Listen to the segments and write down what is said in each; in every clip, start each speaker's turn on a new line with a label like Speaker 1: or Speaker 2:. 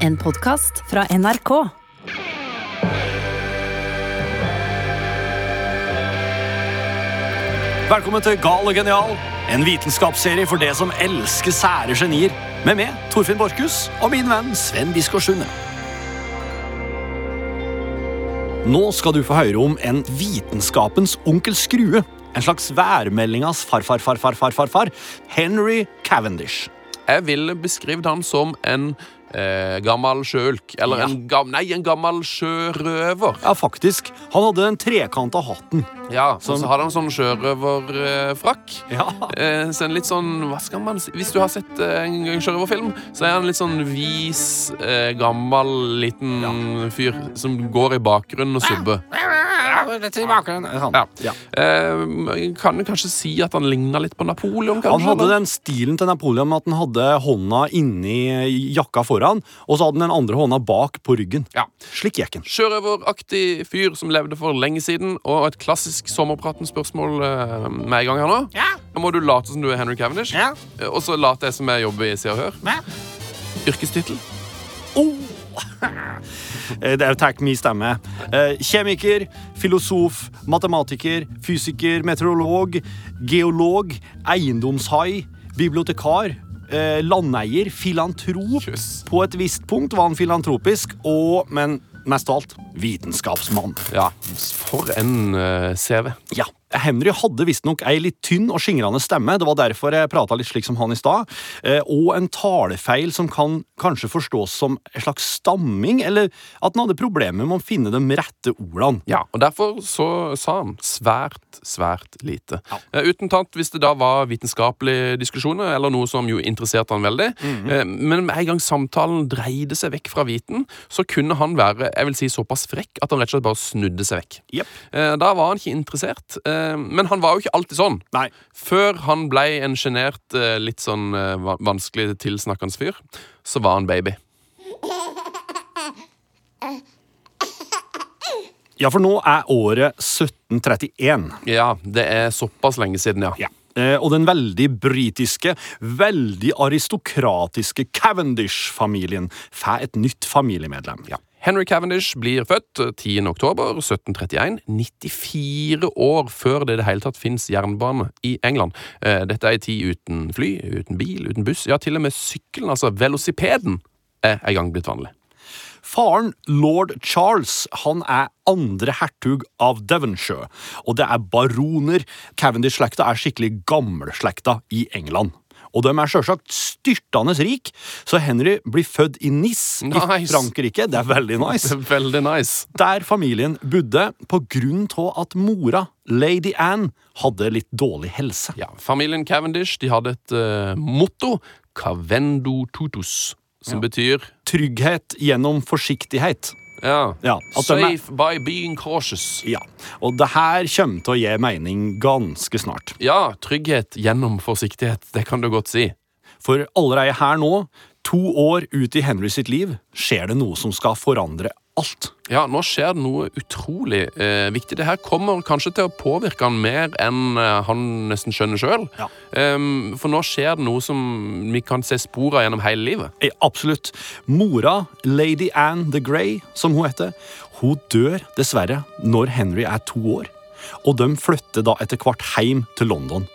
Speaker 1: En podkast fra NRK.
Speaker 2: Velkommen til Gal og genial, en vitenskapsserie for det som elsker sære genier. Med meg, Torfinn Borchhus, og min venn Sven Biskår Sunde. Nå skal du få høre om en vitenskapens onkel Skrue. En slags værmeldingas farfar-farfar-farfar, Henry Cavendish.
Speaker 3: Jeg vil beskrive han som en eh, gammel sjøulk. Eller
Speaker 2: Ja.
Speaker 3: en, gam, nei, en gammel sjørøver.
Speaker 2: Ja, faktisk. Han hadde den trekanta hatten.
Speaker 3: Ja,
Speaker 2: Sånn-
Speaker 3: Og så hadde han sånn sjørøverfrakk.
Speaker 2: Ja.
Speaker 3: Eh, så en litt sånn, hva skal man si Hvis du har sett eh, en en sjørøverfilm, så er han litt sånn vis, eh, gammel liten fyr som går i bakgrunnen og
Speaker 2: Ah,
Speaker 3: subber.
Speaker 2: Han,
Speaker 3: Ja.
Speaker 2: ja.
Speaker 3: Eh, man kan jo kanskje si at han ligna litt på Napoleon, kanskje?
Speaker 2: Han hadde
Speaker 3: eller?
Speaker 2: den stilen til Napoleon med at han hadde hånda inni jakka foran, og så hadde han den andre hånda bak på ryggen.
Speaker 3: Ja.
Speaker 2: Slik gikk han.
Speaker 3: Sjørøveraktig fyr som levde for lenge siden, og et klassisk Sommerpraten-spørsmål eh, med en gang her nå.
Speaker 4: Ja.
Speaker 3: Nå må du late som du er Henry Cavendish,
Speaker 4: Ja.
Speaker 3: eh, og så late jeg som jeg jobber i Se og Hør.
Speaker 4: Ja.
Speaker 3: Yrkestittel?
Speaker 2: Oh. Eh, Det er jo takk min stemme. Eh, Kjemiker, filosof, matematiker, fysiker, meteorolog, geolog, eiendomshai, bibliotekar, eh, landeier, filantrop.
Speaker 3: Jøss.
Speaker 2: På et visst punkt var han filantropisk, og, men mest av alt, vitenskapsmann.
Speaker 3: Ja. For en eh, CV.
Speaker 2: Ja. Henry hadde visstnok ei litt tynn og skingrende stemme, det var derfor jeg prata litt slik som han i stad, eh, og en talefeil som kan kanskje forstås som en slags stamming, eller at han hadde problemer med å finne de rette ordene.
Speaker 3: Ja, og Derfor så sa han svært, svært lite. Eh, uten tatt hvis det da var vitenskapelige diskusjoner, eller noe som jo interesserte han veldig. eh, men med en gang samtalen dreide seg vekk fra viten, så kunne han være jeg vil si, såpass frekk at han rett og slett bare snudde seg vekk.
Speaker 2: Jepp.
Speaker 3: Eh, da var han ikke interessert, eh, men han var jo ikke alltid sånn.
Speaker 2: Nei.
Speaker 3: Før han blei en sjenert, eh, litt sånn eh, va- vanskelig tilsnakkende fyr, så var han baby.
Speaker 2: Ja, for nå er året 1731.
Speaker 3: Ja, det er såpass lenge siden, ja.
Speaker 2: Eh, og den veldig britiske, veldig aristokratiske Cavendish-familien får et nytt familiemedlem.
Speaker 3: Henry Cavendish blir født 10. oktober 1731, 94 år før det i det hele tatt fins jernbane i England. Eh, Dette er ei tid uten fly, uten bil, uten buss, ja, til og med sykkelen, altså velocipeden, er en gang blitt vanlig.
Speaker 2: Faren, lord Charles, han er andre hertug av Devonshire, og det er baroner. Cavendish-slekta er skikkelig gamleslekta i England. Og de er selvsagt styrtende rik, så Henry blir født i Nis i
Speaker 3: Nice.
Speaker 2: Frankrike. Det er veldig nice.
Speaker 3: Veldig nice.
Speaker 2: Der familien bodde på grunn av at mora, lady Anne, hadde litt dårlig helse.
Speaker 3: Ja, Familien Cavendish de hadde et eh, motto, Cavendo tutus, som betyr
Speaker 2: Trygghet gjennom forsiktighet.
Speaker 3: ja,
Speaker 2: Ja, at de er-
Speaker 3: Safe by being cautious.
Speaker 2: Ja, Og det her kommer til å gi mening ganske snart.
Speaker 3: Ja, trygghet gjennom forsiktighet. Det kan du godt si.
Speaker 2: For allerede her nå, to år ut i Henry sitt liv, skjer det noe som skal forandre alt.
Speaker 3: Ja, nå skjer det noe utrolig eh, viktig. Det her kommer kanskje til å påvirke han mer enn eh, han nesten skjønner sjøl.
Speaker 2: Ja.
Speaker 3: for nå skjer det noe som vi kan se spor av gjennom hele livet.
Speaker 2: Eh, Absolutt. Mora, lady Anne the Grey, som hun heter, hun dør dessverre når Henry er to år. Og de flytter da etter hvert hjem til London.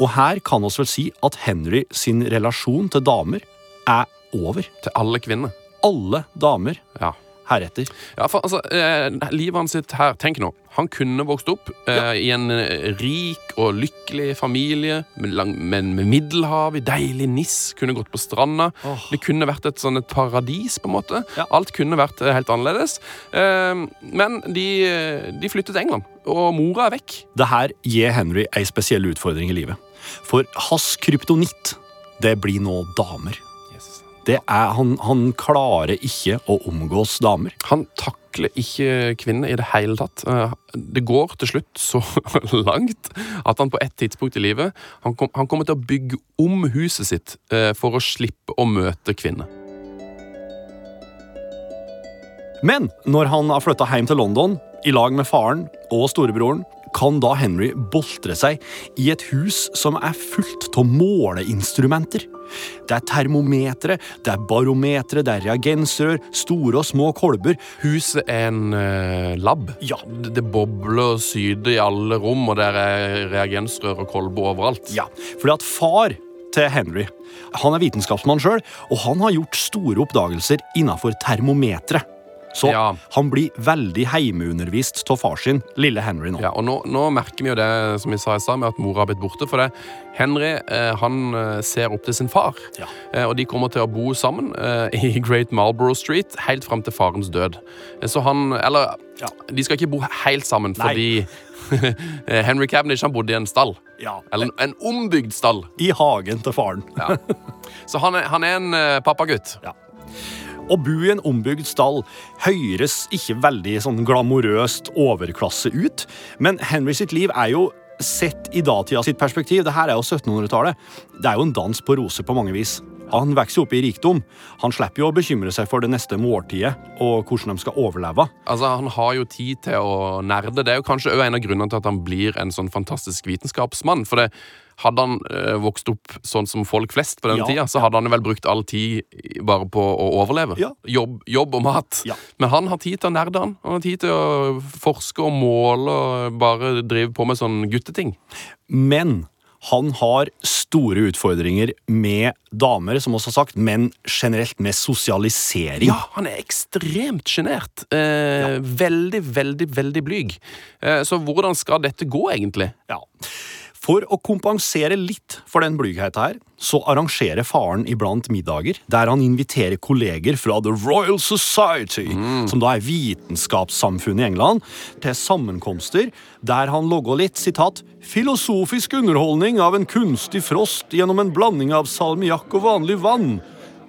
Speaker 2: Og her kan oss vel si at Henry sin relasjon til damer er over.
Speaker 3: Til alle kvinner.
Speaker 2: Alle damer
Speaker 3: Ja.
Speaker 2: heretter.
Speaker 3: Ja, for altså, eh, Livet hans sitt her Tenk nå. Han kunne vokst opp eh, i en eh, rik og lykkelig familie, med lang, men med Middelhav, i deilig Nis, kunne gått på stranda.
Speaker 2: Åh.
Speaker 3: Det kunne vært et sånn et paradis, på en måte.
Speaker 2: Ja.
Speaker 3: Alt kunne vært eh, helt annerledes. Eh, men de, eh, de flyttet til England, og mora er vekk.
Speaker 2: Det her gir Henry ei spesiell utfordring i livet. For hans kryptonitt, det blir nå damer. Det er, han, han klarer ikke å omgås damer.
Speaker 3: Han takler ikke kvinner i det hele tatt. Eh, Det går til slutt så langt at han på et tidspunkt i livet han, kom, han kommer til å bygge om huset sitt eh, for å slippe å møte kvinner.
Speaker 2: Men når han har flytta hjem til London i lag med faren og storebroren, kan da Henry boltre seg i et hus som er fullt av måleinstrumenter. Det er termometre, det er barometre, det er reagensrør, store og små kolber.
Speaker 3: Huset er en eh, lab.
Speaker 2: Ja.
Speaker 3: Det det bobler og syder i alle rom, og der er reagensrør og kolber overalt.
Speaker 2: Ja, fordi at far til Henry han er vitenskapsmann sjøl, og han har gjort store oppdagelser innafor termometeret. Så
Speaker 3: Ja.
Speaker 2: han blir veldig heimeundervist av far sin, lille Henry, nå.
Speaker 3: Ja, og nå, nå merker vi jo det som vi sa i stad, med at mora har blitt borte. For det, Henry eh, han eh, ser opp til sin far,
Speaker 2: Ja.
Speaker 3: eh, og de kommer til å bo sammen eh, i Great Marlborough Street helt fram til farens død. Eh, så han Eller,
Speaker 2: Ja.
Speaker 3: de skal ikke bo helt sammen,
Speaker 2: Nei.
Speaker 3: fordi eh, Henry Cavendish han bodde i en stall.
Speaker 2: Ja.
Speaker 3: Eller en ombygd stall.
Speaker 2: I hagen til faren.
Speaker 3: Ja. Så han er, han er en eh, pappagutt.
Speaker 2: Å bo i en ombygd stall høres ikke veldig sånn glamorøst overklasse ut, men Henry sitt liv er jo Sett i datida sitt perspektiv, det her er jo 1700-tallet, det er jo en dans på roser på mange vis. Han vokser jo opp i rikdom. Han slipper jo å bekymre seg for det neste måltidet og hvordan de skal overleve.
Speaker 3: Altså, Han har jo tid til å nerde. Det er jo kanskje også en av grunnene til at han blir en sånn fantastisk vitenskapsmann. For det, hadde han eh, vokst opp sånn som folk flest på den
Speaker 2: Ja.
Speaker 3: tida, så hadde han vel brukt all tid i- bare på å overleve.
Speaker 2: Ja.
Speaker 3: Jobb, jobb og mat.
Speaker 2: Ja.
Speaker 3: Men han har tid til å nerde, han. Han har tid til å forske og måle og bare drive på med sånn gutteting.
Speaker 2: Men han har store utfordringer med damer, som også sagt, men generelt med sosialisering.
Speaker 3: Ja, han er ekstremt sjenert. Eh, Veldig, veldig, veldig blyg. Eh, så hvordan skal dette gå, egentlig?
Speaker 2: Ja. For å kompensere litt for den blygheten her, så arrangerer faren iblant middager der han inviterer kolleger fra The Royal Society, som da er vitenskapssamfunnet i England, til sammenkomster der han logger litt sitat, 'filosofisk underholdning av en kunstig frost gjennom en blanding av salmiakk og vanlig vann',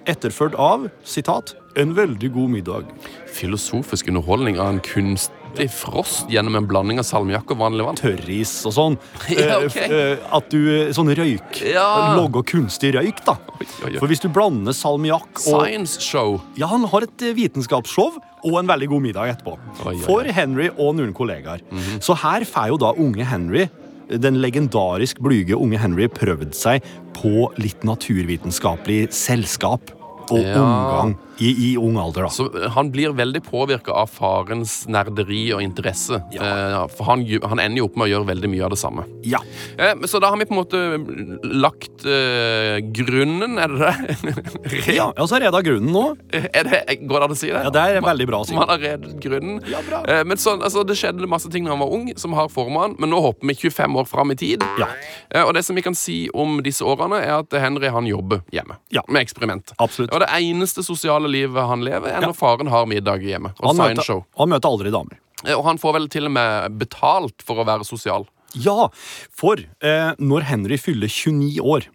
Speaker 2: etterført av sitat, 'en veldig god middag'.
Speaker 3: Filosofisk underholdning av en kunstig frost gjennom en blanding av salmiakk og vanlig vann.
Speaker 2: tørris og sånn.
Speaker 3: Ja, ok.
Speaker 2: Eh, eh, At du eh, Sånn røyk.
Speaker 3: Ja.
Speaker 2: Logger kunstig røyk, da.
Speaker 3: oi, oi.
Speaker 2: For hvis du blander salmiakk og
Speaker 3: Science show.
Speaker 2: Ja, han har et eh, vitenskapsshow og en veldig god middag etterpå.
Speaker 3: Oi, Mhm. oi, oi.
Speaker 2: For Henry og noen kollegaer. Så her får jo da unge Henry den legendarisk blyge unge Henry prøvd seg på litt naturvitenskapelig selskap og
Speaker 3: Ja.
Speaker 2: omgang i, i ung alder. da.
Speaker 3: Så eh, han blir veldig påvirka av farens nerderi og interesse. Eh, For han, gj- han ender jo opp med å gjøre veldig mye av det samme.
Speaker 2: Ja.
Speaker 3: Eh, men Så da har vi på en måte lagt eh, grunnen, er det det? Re-
Speaker 2: ja, og så er det grunnen nå.
Speaker 3: er det går det an å si det?
Speaker 2: Ja, det er veldig bra å si.
Speaker 3: Man har redet grunnen.
Speaker 2: Ja, bra.
Speaker 3: Eh, Men sånn, altså, Det skjedde masse ting da han var ung, som har forma han, men nå hopper vi 25 år fram i tid.
Speaker 2: Ja.
Speaker 3: Eh, Og det som vi kan si om disse årene, er at Henry han jobber hjemme
Speaker 2: Ja.
Speaker 3: med eksperiment.
Speaker 2: Absolutt.
Speaker 3: Og det eneste sosiale livet han lever, er når faren har middag hjemme. Og
Speaker 2: Han
Speaker 3: science
Speaker 2: møter,
Speaker 3: show.
Speaker 2: han møter aldri damer.
Speaker 3: Eh, Og han får vel til og med betalt for å være sosial.
Speaker 2: Ja, for eh, når Henry fyller 29 år,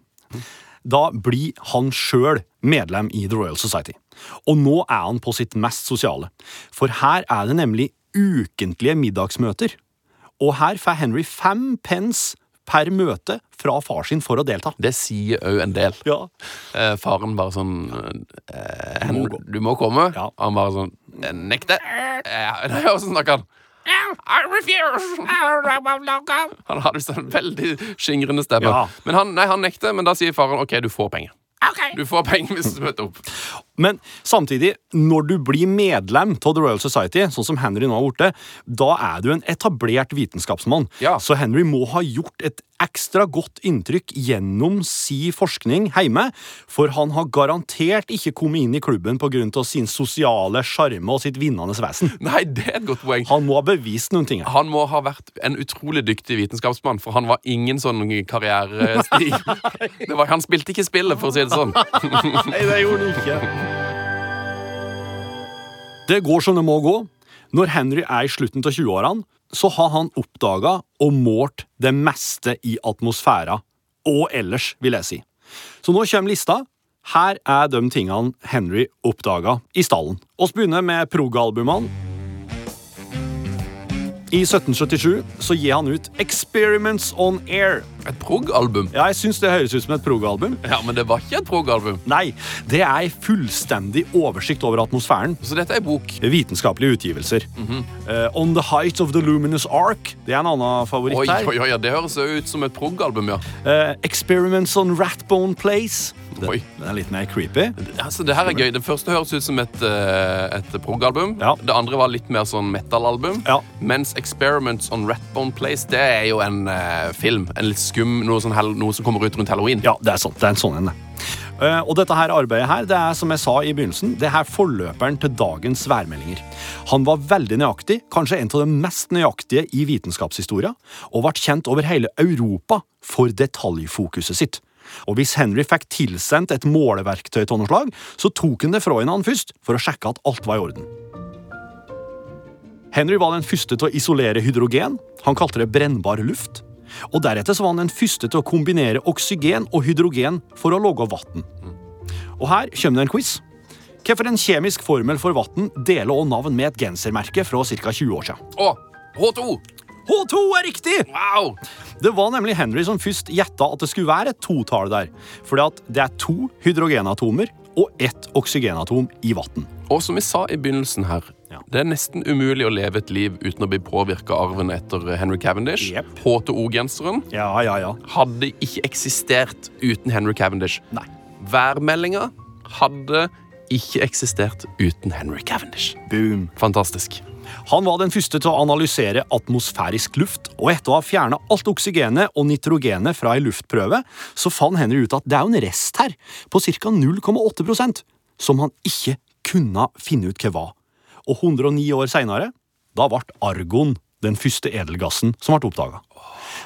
Speaker 2: da blir han sjøl medlem i The Royal Society. Og nå er han på sitt mest sosiale, for her er det nemlig ukentlige middagsmøter. Og her får Henry fem pence per møte fra far sin for å delta.
Speaker 3: Det sier òg en del.
Speaker 2: Ja.
Speaker 3: Eh, faren bare sånn eh, Henry,
Speaker 2: gå.
Speaker 3: du må komme.
Speaker 2: Ja.
Speaker 3: Han bare sånn eh, Nekter. Eh, nei, og så snakker han. I refuse! Han hadde visst en veldig skingrende stemme.
Speaker 2: Ja.
Speaker 3: Men han, nei, han nekter, men da sier faren OK, du får penger. Du får penger hvis du møter opp.
Speaker 2: Men samtidig, når du blir medlem av The Royal Society, sånn som Henry nå har blitt, da er du en etablert vitenskapsmann.
Speaker 3: Ja.
Speaker 2: Så Henry må ha gjort et ekstra godt inntrykk gjennom si forskning hjemme, for han har garantert ikke kommet inn i klubben pga. sin sosiale sjarme og sitt vinnende vesen.
Speaker 3: Nei, det er et godt poeng.
Speaker 2: Han må ha bevist noen ting. her.
Speaker 3: Han må ha vært en utrolig dyktig vitenskapsmann, for han var ingen sånn karrierestig. Det var, han spilte ikke spillet, for å si det sånn.
Speaker 2: Nei, det gjorde han ikke. Det går som det må gå. Når Henry er i slutten av 20-årene, så har han oppdaga og målt det meste i atmosfæra. Og ellers, vil jeg si. Så nå kommer lista. Her er de tingene Henry oppdaga i stallen. Vi begynner med prog-albumene. I 1777 så gir han ut Experiments on Air,
Speaker 3: Et prog-album?
Speaker 2: Ja, jeg syns det høres ut som et prog-album.
Speaker 3: Ja, men det var ikke et prog-album.
Speaker 2: Nei, det er ei fullstendig oversikt over atmosfæren.
Speaker 3: Så dette er ei bok.
Speaker 2: Vitenskapelige utgivelser. Eh, On the Height of the Luminous Ark det er en annen favoritt
Speaker 3: Oi,
Speaker 2: her.
Speaker 3: oi, oi, ja, det høres jo ut som et prog-album, ja.
Speaker 2: Eh, Experiments on Ratbone Place. Den,
Speaker 3: Oi.
Speaker 2: den er litt mer creepy.
Speaker 3: Altså, det her er gøy. Det første høres ut som et, eh, et prog-album.
Speaker 2: Ja.
Speaker 3: Det andre var litt mer sånn metal-album.
Speaker 2: Ja.
Speaker 3: Mens Experiments on Ratbone Place det er jo en eh, film. En litt skum, noe, sånn hell, noe som kommer ut rundt halloween.
Speaker 2: Ja, det er sant. Det er en sånn en, det. Eh, Og dette her arbeidet her, det er som jeg sa i begynnelsen, det er forløperen til dagens værmeldinger. Han var veldig nøyaktig, kanskje en av de mest nøyaktige i vitenskapshistoria, og ble kjent over hele Europa for detaljfokuset sitt. Og hvis Henry fikk tilsendt et måleverktøy av noe slag, så tok han det fra henne først for å sjekke at alt var i orden. Henry var den første til å isolere hydrogen. Han kalte det brennbar luft. Og Deretter så var han den første til å kombinere oksygen og hydrogen for å lage vann. Og her kommer det en quiz. Hvorfor en kjemisk formel for vann deler også navn med et gensermerke fra ca. 20 år siden?
Speaker 3: Å, H2!
Speaker 2: H2 er riktig!
Speaker 3: Wow!
Speaker 2: Det var nemlig Henry som først gjetta at det skulle være et totall der. Fordi at det er to hydrogenatomer og ett oksygenatom i vann.
Speaker 3: Og som vi sa i begynnelsen her,
Speaker 2: Ja.
Speaker 3: det er nesten umulig å leve et liv uten å bli påvirka av arven etter eh, Henry Cavendish.
Speaker 2: Jep.
Speaker 3: H2O-genseren
Speaker 2: Ja, ja, ja.
Speaker 3: hadde ikke eksistert uten Henry Cavendish.
Speaker 2: Nei.
Speaker 3: Værmeldinga hadde ikke eksistert uten Henry Cavendish.
Speaker 2: Boom.
Speaker 3: Fantastisk.
Speaker 2: Han var den første til å analysere atmosfærisk luft, og etter å ha fjerna alt oksygenet og nitrogenet fra ei luftprøve, så fant Henry ut at det er jo en rest her, på ca. 0,8 som han ikke kunne finne ut hva var. Og 109 år seinere, da ble argon den første edelgassen som ble oppdaga.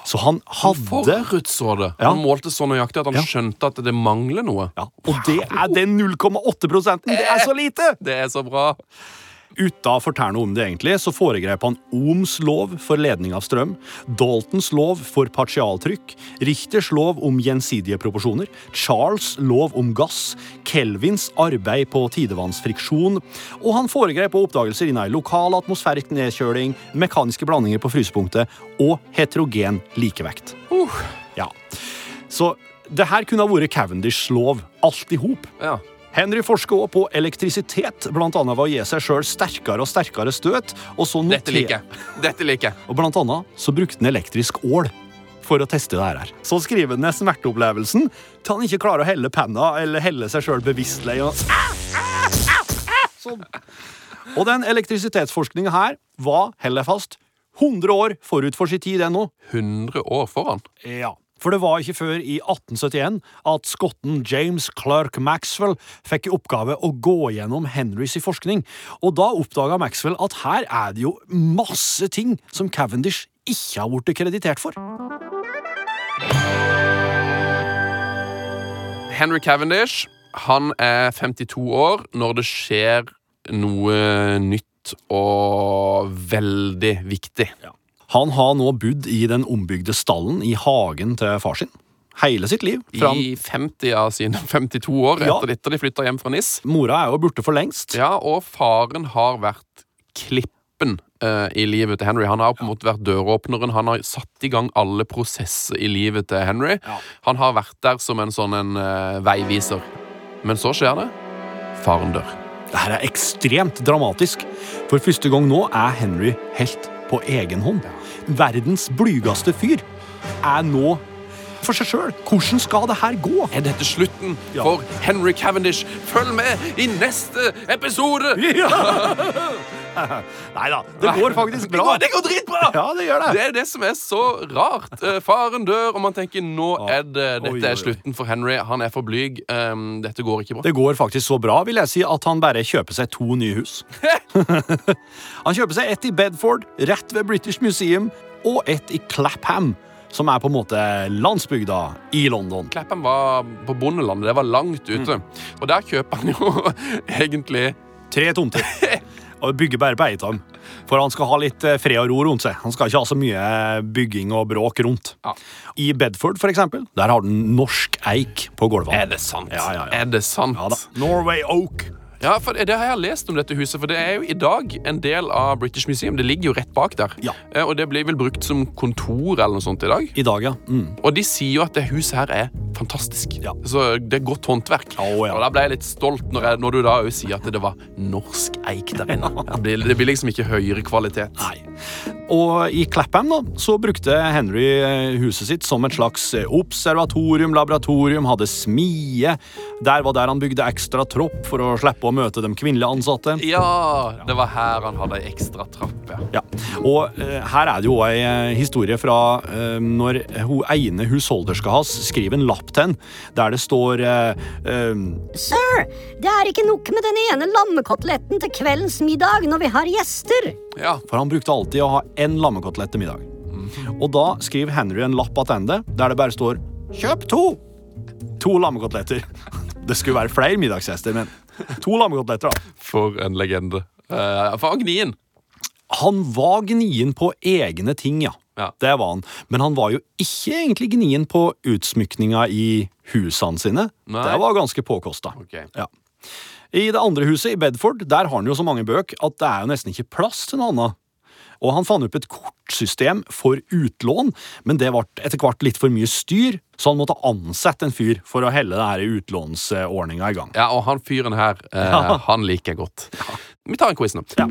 Speaker 2: Så han hadde
Speaker 3: Forutså det!
Speaker 2: Ja.
Speaker 3: Han målte så nøyaktig at han skjønte at det mangler noe.
Speaker 2: ja, Og det er den 0,8 Det er så lite!
Speaker 3: Det er så bra!
Speaker 2: Uten å fortelle noe om det egentlig, så foregrep han Ohms lov for ledning av strøm, Daltons lov for partialtrykk, Richters lov om gjensidige proporsjoner, Charles lov om gass, Kelvins arbeid på tidevannsfriksjon, og han foregrep også oppdagelser innen lokal atmosfærisk nedkjøling, mekaniske blandinger på frysepunktet og heterogen likevekt. Ja. Så det her kunne ha vært Cavendishs lov alt i hop.
Speaker 3: Ja.
Speaker 2: Henry forsker også på elektrisitet, blant annet ved å gi seg sjøl sterkere og sterkere støt. Og, så noter-
Speaker 3: Dette liker jeg. Dette liker jeg.
Speaker 2: og blant annet så brukte han elektrisk ål for å teste det her. Så skriver han ned smerteopplevelsen til han ikke klarer å helle penna eller helle seg sjøl bevisstlig. Og, sånn. og den elektrisitetsforskninga her var, held deg fast, 100 år forut for sin tid ennå.
Speaker 3: 100 år foran.
Speaker 2: Ja. For det var ikke før i 1871 at skotten James Clerk Maxwell fikk i oppgave å gå gjennom Henrys forskning, og da oppdaga Maxwell at her er det jo masse ting som Cavendish ikke har blitt kreditert for.
Speaker 3: Henry Cavendish han er 52 år når det skjer noe nytt og veldig viktig.
Speaker 2: Han har nå bodd i den ombygde stallen i hagen til far sin hele sitt liv. Fra
Speaker 3: I 50 av sine 52 år
Speaker 2: Ja.
Speaker 3: etter dette de flytta hjem fra NIS.
Speaker 2: mora er jo borte for lengst.
Speaker 3: Ja, og faren har vært klippen eh, i livet til Henry. Han har på en måte vært døråpneren. Han har satt i gang alle prosesser i livet til Henry.
Speaker 2: Ja.
Speaker 3: Han har vært der som en sånn en eh, veiviser. Men så skjer det. Faren dør.
Speaker 2: Dette er ekstremt dramatisk. For første gang nå er Henry helt på egen hånd. Verdens blygeste fyr er nå for seg sjøl. Hvordan skal det her gå?
Speaker 3: Er dette slutten
Speaker 2: Ja.
Speaker 3: for Henry Cavendish? Følg med i neste episode!
Speaker 2: Nei da, det går faktisk
Speaker 3: Det
Speaker 2: bra.
Speaker 3: går, det går dritbra!
Speaker 2: Ja, det gjør
Speaker 3: Det
Speaker 2: det.
Speaker 3: er det som er så rart. Eh, Faren dør, og man tenker nå er det,
Speaker 2: Oi,
Speaker 3: dette
Speaker 2: oi, oi.
Speaker 3: er slutten for Henry. Han er for blyg. Um, dette går ikke bra.
Speaker 2: Det går faktisk så bra vil jeg si, at han bare kjøper seg to nye hus. han kjøper seg ett i Bedford, rett ved British Museum, og ett i Clapham, som er på en måte landsbygda i London.
Speaker 3: Kleppen var på bondelandet. Det var langt ute. Og der kjøper han jo egentlig
Speaker 2: Tre tomter. Og bygger bare på eiet av dem. For han skal ha litt eh, fred og ro rundt seg. Han skal ikke ha så mye eh, bygging og bråk rundt.
Speaker 3: Ja.
Speaker 2: I Bedford, for eksempel, der har den norsk eik på
Speaker 3: Er
Speaker 2: gulvene.
Speaker 3: det sant?
Speaker 2: Ja, ja, ja.
Speaker 3: Er det sant?
Speaker 2: Ja da. Norway Oak.
Speaker 3: Ja, for Det har jeg lest om dette huset, for det er jo i dag en del av British Museum. Det ligger jo rett bak der.
Speaker 2: Ja.
Speaker 3: Eh, Og det blir vel brukt som kontor eller noe sånt i dag.
Speaker 2: I dag, ja. Mm.
Speaker 3: Og de sier jo at det huset her er fantastisk.
Speaker 2: Ja.
Speaker 3: Så det er godt håndverk.
Speaker 2: Å, ja.
Speaker 3: Og da ble jeg litt stolt når, jeg, når du da også sier at det var norsk eik der inne. Det blir, det blir liksom ikke høyere kvalitet.
Speaker 2: Nei. Og i Clapham da, så brukte Henry eh, huset sitt som et slags eh, observatorium, laboratorium, hadde smie. Der var der han bygde ekstra tropp for å slippe å møte de kvinnelige ansatte.
Speaker 3: Ja, det var her han hadde ei ekstra trapp. ja.
Speaker 2: Ja, og eh, her er det jo ei eh, historie fra eh, når hun ene husholderska hans skriver en lapp til henne, der det står eh, eh,
Speaker 4: Sir, det er ikke nok med den ene lammekoteletten til kveldens middag når vi har gjester.
Speaker 3: Ja.
Speaker 2: For han brukte alltid å ha én lammekotelett til middag. Og da skriver Henry en lapp attende der det bare står 'kjøp to'. To lammekoteletter. Det skulle være flere middagsgjester, men to lammekoteletter, da.
Speaker 3: For en legende. Eh, for Agnien.
Speaker 2: Han var gnien på egne ting, ja.
Speaker 3: Ja.
Speaker 2: Det var han. Men han var jo ikke egentlig gnien på utsmykninga i husene sine.
Speaker 3: Nei.
Speaker 2: Det var ganske påkosta.
Speaker 3: Ok.
Speaker 2: Ja. I det andre huset, i Bedford, der har han jo så mange bøk at det er jo nesten ikke plass til noe annet. Og han fant opp et kortsystem for utlån, men det ble etter hvert litt for mye styr, så han måtte ansette en fyr for å helle denne utlånsordninga i gang.
Speaker 3: Ja, og han fyren her, eh, han liker jeg godt. Vi tar en quiz nå.
Speaker 2: Ja.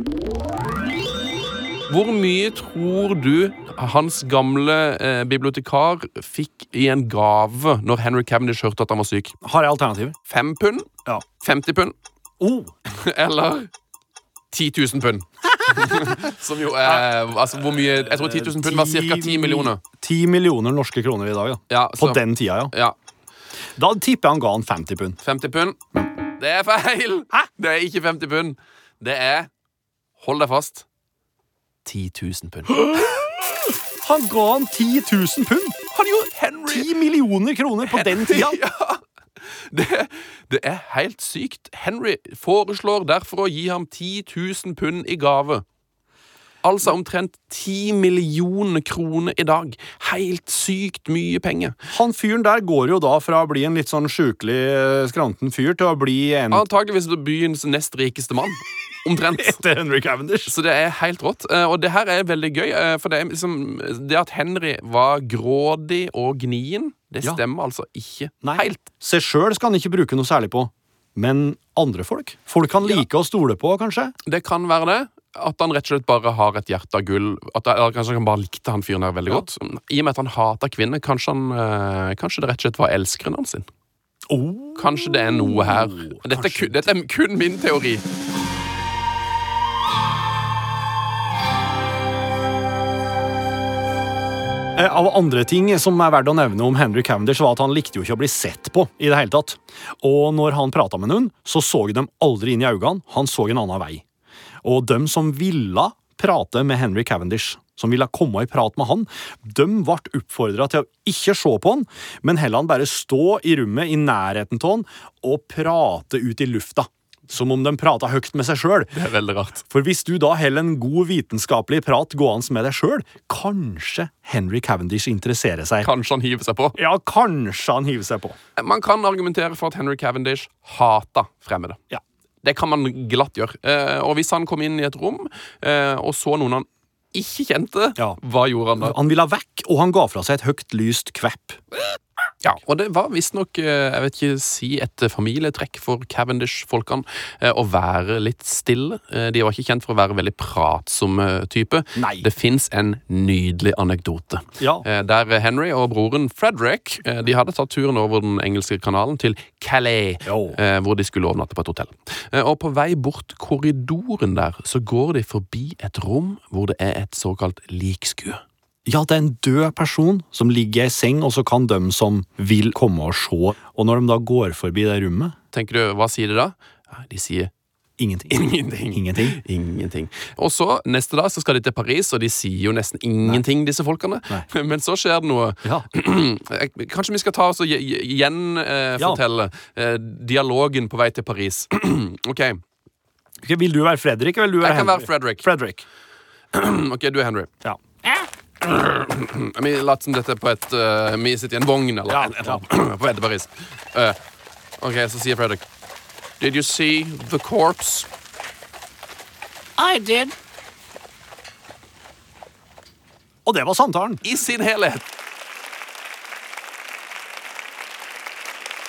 Speaker 3: Hvor mye tror du hans gamle eh, bibliotekar fikk i en gave når Henry Cavendish hørte at han var syk?
Speaker 2: Har jeg alternativer?
Speaker 3: Fem pund?
Speaker 2: Ja.
Speaker 3: 50 pund?
Speaker 2: Oh,
Speaker 3: Eller 10 000 pund? Som jo er Altså, hvor mye Jeg tror 10 000 pund var ca. 10 millioner.
Speaker 2: Ti millioner norske kroner i dag, ja.
Speaker 3: Ja,
Speaker 2: På
Speaker 3: så-
Speaker 2: den tida, ja.
Speaker 3: Ja.
Speaker 2: Da tipper jeg han ga han 50 pund.
Speaker 3: 50 pund. Det er feil! Det er ikke 50 pund. Det er Hold deg fast 10 000 pund.
Speaker 2: Han ga han 10 000 pund!
Speaker 3: Han gjorde Henry!
Speaker 2: 10 millioner kroner på den tida!
Speaker 3: Det, det er helt sykt. Henry foreslår derfor å gi ham 10 000 pund i gave. Altså omtrent 10 millioner kroner i dag. Helt sykt mye penger.
Speaker 2: Han fyren der går jo da fra å bli en litt sånn sjukelig eh, skranten fyr til å bli en
Speaker 3: Antakeligvis byens nest rikeste mann. Omtrent.
Speaker 2: etter Henry Cavendish.
Speaker 3: Så det er helt rått. Eh, Og det her er veldig gøy. eh, For det, er liksom, det at Henry var grådig og gnien, det
Speaker 2: Ja.
Speaker 3: stemmer altså ikke
Speaker 2: Nei.
Speaker 3: helt.
Speaker 2: Seg sjøl skal han ikke bruke noe særlig på. Men andre folk? Folk han liker å stole på, kanskje?
Speaker 3: Det kan være det. At han rett og slett bare har et hjerte av gull. At, eller kanskje han bare likte han fyren her veldig godt. I og med at han hater kvinner, kanskje, han, eh, kanskje det rett og slett var elskeren hans sin.
Speaker 2: Oh.
Speaker 3: Kanskje det er noe her. Dette er,
Speaker 2: kanskje.
Speaker 3: kun, dette er kun min teori.
Speaker 2: Eh, Av andre ting som er verdt å nevne om Henry Cavendish, var at han likte jo ikke å bli sett på i det hele tatt. Og når han prata med noen, så så de aldri inn i øynene, han så en annen vei. Og dem som ville prate med Henry Cavendish, som ville komme i prat med han, dem ble oppfordra til å ikke se på han, men heller han bare stå i rommet i nærheten av han og prate ut i lufta. Som om de prata høyt med seg sjøl.
Speaker 3: Det er veldig rart.
Speaker 2: For hvis du da heller en god vitenskapelig prat gående med deg sjøl, kanskje Henry Cavendish interesserer seg.
Speaker 3: Kanskje han hiver seg på.
Speaker 2: Ja, kanskje han hiver seg på.
Speaker 3: Man kan argumentere for at Henry Cavendish hata fremmede.
Speaker 2: Ja.
Speaker 3: Det kan man glatt gjøre. Eh, og hvis han kom inn i et rom eh, og så noen han ikke kjente,
Speaker 2: Ja.
Speaker 3: hva gjorde han da?
Speaker 2: Han ville vekk, og han ga fra seg et høyt lyst kvepp.
Speaker 3: Ja, Og det var visstnok eh, jeg vet ikke, si et familietrekk for Cavendish-folkene eh, å være litt stille. Eh, de var ikke kjent for å være veldig pratsomme type.
Speaker 2: Nei.
Speaker 3: Det fins en nydelig anekdote.
Speaker 2: Ja.
Speaker 3: Eh, Der Henry og broren Frederick eh, De hadde tatt turen over den engelske kanalen til Calais,
Speaker 2: Jo.
Speaker 3: eh, hvor de skulle overnatte på et hotell. Eh, Og på vei bort korridoren der, så går de forbi et rom hvor det er et såkalt likskue.
Speaker 2: Ja, det er en død person som ligger i ei seng, og så kan dem som vil komme og se. Og når de da går forbi det rommet
Speaker 3: Tenker du, hva sier de da? Ja, De sier
Speaker 2: Ingenting.
Speaker 3: ingenting.
Speaker 2: Ingenting.
Speaker 3: Ingenting. Og så, neste dag, så skal de til Paris, og de sier jo nesten ingenting, disse folkene.
Speaker 2: Nei.
Speaker 3: Men så skjer det noe.
Speaker 2: Ja.
Speaker 3: Jeg- Kanskje vi skal ta oss og
Speaker 2: Ja.
Speaker 3: gjenfortelle eh, dialogen på vei til Paris. ok,
Speaker 2: Ok, Vil du være Fredrik, eller vil du
Speaker 3: Jeg
Speaker 2: være
Speaker 3: kan være
Speaker 2: Henry?
Speaker 3: Frederick.
Speaker 2: Fredrik.
Speaker 3: Ok, du er Henry.
Speaker 2: Ja.
Speaker 3: Vi later som dette er på et eh, Vi sitter i en vogn eller
Speaker 2: Ja,
Speaker 3: eller- eller- på vei til Paris. Eh, ok, så sier Frederick Did you see the corpse?
Speaker 5: I did.
Speaker 2: Og det var samtalen.
Speaker 3: I sin helhet.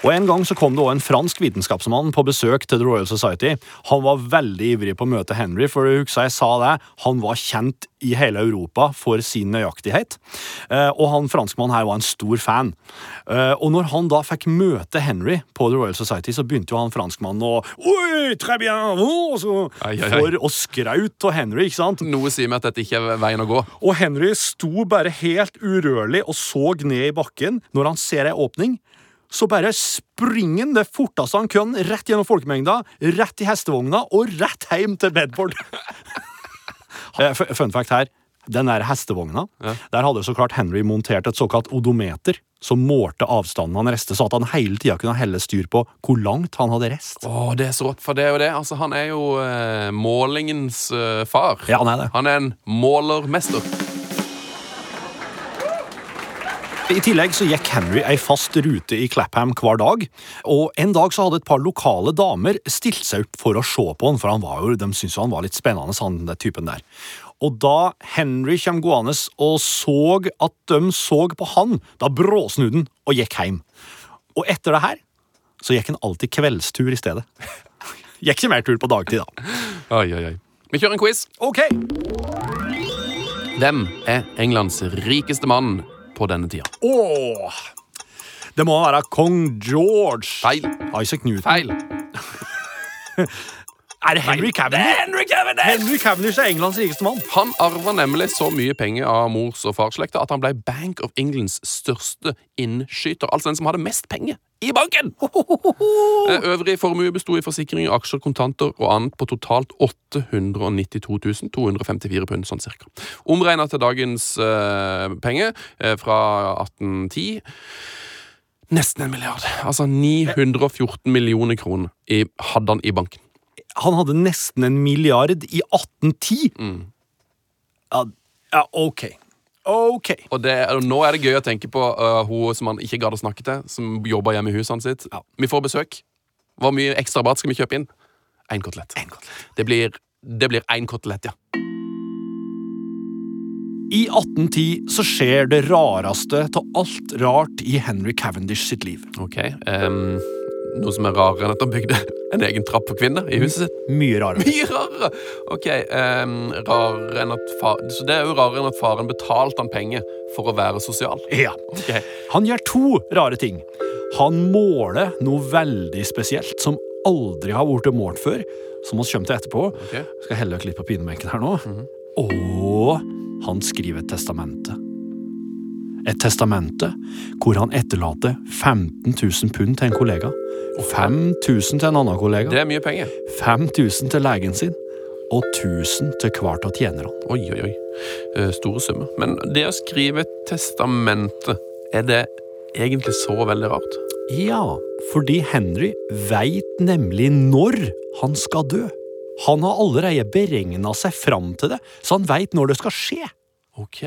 Speaker 2: Og En gang så kom det også en fransk vitenskapsmann på besøk til The Royal Society. Han var veldig ivrig på å møte Henry, for jeg husker jeg sa det, han var kjent i hele Europa for sin nøyaktighet. Eh, Og han franskmannen her var en stor fan. Eh, Og når han da fikk møte Henry på The Royal Society, så begynte jo han franskmannen å Oi, très bien, oh, så,
Speaker 3: Ai, ai, ai.
Speaker 2: For å skraut av Henry, ikke sant?
Speaker 3: Noe sier meg at dette ikke er veien å gå.
Speaker 2: Og Henry sto bare helt urørlig og så ned i bakken når han ser ei åpning. Så bare springer han det forteste han kan, rett gjennom folkemengda, rett i hestevogna og rett hjem til Bedford. Eh, fu- Fun fact her. Den der hestevogna, der hadde så klart Henry montert et såkalt odometer som målte avstanden han reiste, så at han hele tida kunne helle styr på hvor langt han hadde reist.
Speaker 3: Åh, det er så rått for det og det. Altså, han er jo eh, målingens eh, far.
Speaker 2: Ja, han er det.
Speaker 3: Han er en målermester.
Speaker 2: I tillegg så gikk Henry ei fast rute i Clapham hver dag, og en dag så hadde et par lokale damer stilt seg opp for å se på han, for han var jo, de syntes jo han var litt spennende, han den typen der. Og da Henry kom gående og så at de så på han, da bråsnudde han og gikk hjem. Og etter det her så gikk han alltid kveldstur i stedet. Gikk ikke mer tur på dagtid, da.
Speaker 3: Oi, oi, oi. Vi kjører en quiz.
Speaker 2: Ok,
Speaker 3: Hvem er Englands rikeste mann på denne tida?
Speaker 2: åh. Det må være kong George.
Speaker 3: Feil.
Speaker 2: Isaac Newton.
Speaker 3: Feil.
Speaker 2: Er det Henry Cavendish? Henry Cavendish! Henry Cavendish er Englands rikeste mann.
Speaker 3: Han arva nemlig så mye penger av mors- og farsslekta at han ble Bank of Englands største innskyter. Altså den som hadde mest penger i banken! Eh, Øvrig formue besto i forsikringer, aksjer, kontanter og annet på totalt 892 254 pund, sånn cirka. Omregna til dagens eh, penger eh, fra 1810 Nesten en milliard. Altså 914 millioner kroner i, hadde han i banken.
Speaker 2: Han hadde nesten en milliard i 1810. Ja, ja, ok. Ok.
Speaker 3: Og, det, og nå er det gøy å tenke på øh, hun som han ikke gadd å snakke til, som jobber hjemme i huset hans sitt. Vi får besøk. Hvor mye ekstra mat skal vi kjøpe inn? Én kotelett. Det blir det blir én kotelett, ja.
Speaker 2: I 1810 så skjer det rareste til alt rart i Henry Cavendish sitt liv.
Speaker 3: Ok. ehm, noe som er rarere enn at han bygde en egen trapp for kvinner i huset sitt.
Speaker 2: Mye rarere.
Speaker 3: Mye rarere! Ok, ehm, rarere enn at fa Så det er jo rarere enn at faren betalte han penger for å være sosial.
Speaker 2: Ja.
Speaker 3: Ok.
Speaker 2: Han gjør to rare ting. Han måler noe veldig spesielt som aldri har vært målt før, som vi kommer til etterpå.
Speaker 3: Ok.
Speaker 2: Skal helle dere litt på pinebenken her nå. Og han skriver et testamente. Et testamente hvor han etterlater 15 000 pund til en kollega. 5000 til en annen kollega.
Speaker 3: Det er mye penger.
Speaker 2: 5000 til legen sin. Og 1000 til hver av tjenerne.
Speaker 3: Oi, oi, oi. Eh, Store summer. Men det å skrive testamentet, er det egentlig så veldig rart?
Speaker 2: Ja, fordi Henry veit nemlig når han skal dø. Han har allerede beregna seg fram til det, så han veit når det skal skje.
Speaker 3: Ok.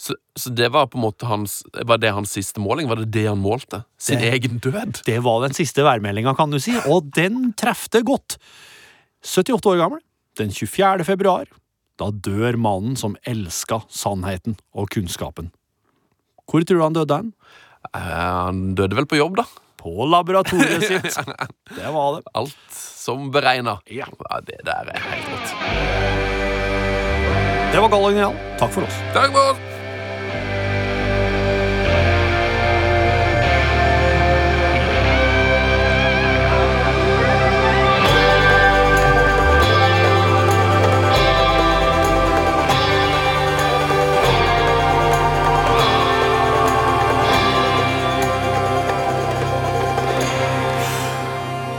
Speaker 3: Så, så det var på en måte hans Var det hans siste måling? Var det det han målte? Sin
Speaker 2: Det-
Speaker 3: egen død?
Speaker 2: Det var den siste værmeldinga, kan du si, og den trefte godt. 78 år gammel, den 24. februar, da dør mannen som elska sannheten og kunnskapen. Hvor tror du han døde hen?
Speaker 3: Eh, han døde vel på jobb, da?
Speaker 2: På laboratoriet sitt. Det var det.
Speaker 3: Alt som beregna. Ja. det der er helt rått.
Speaker 2: Det var Gallo Genial. Takk for oss.
Speaker 3: Takk for oss!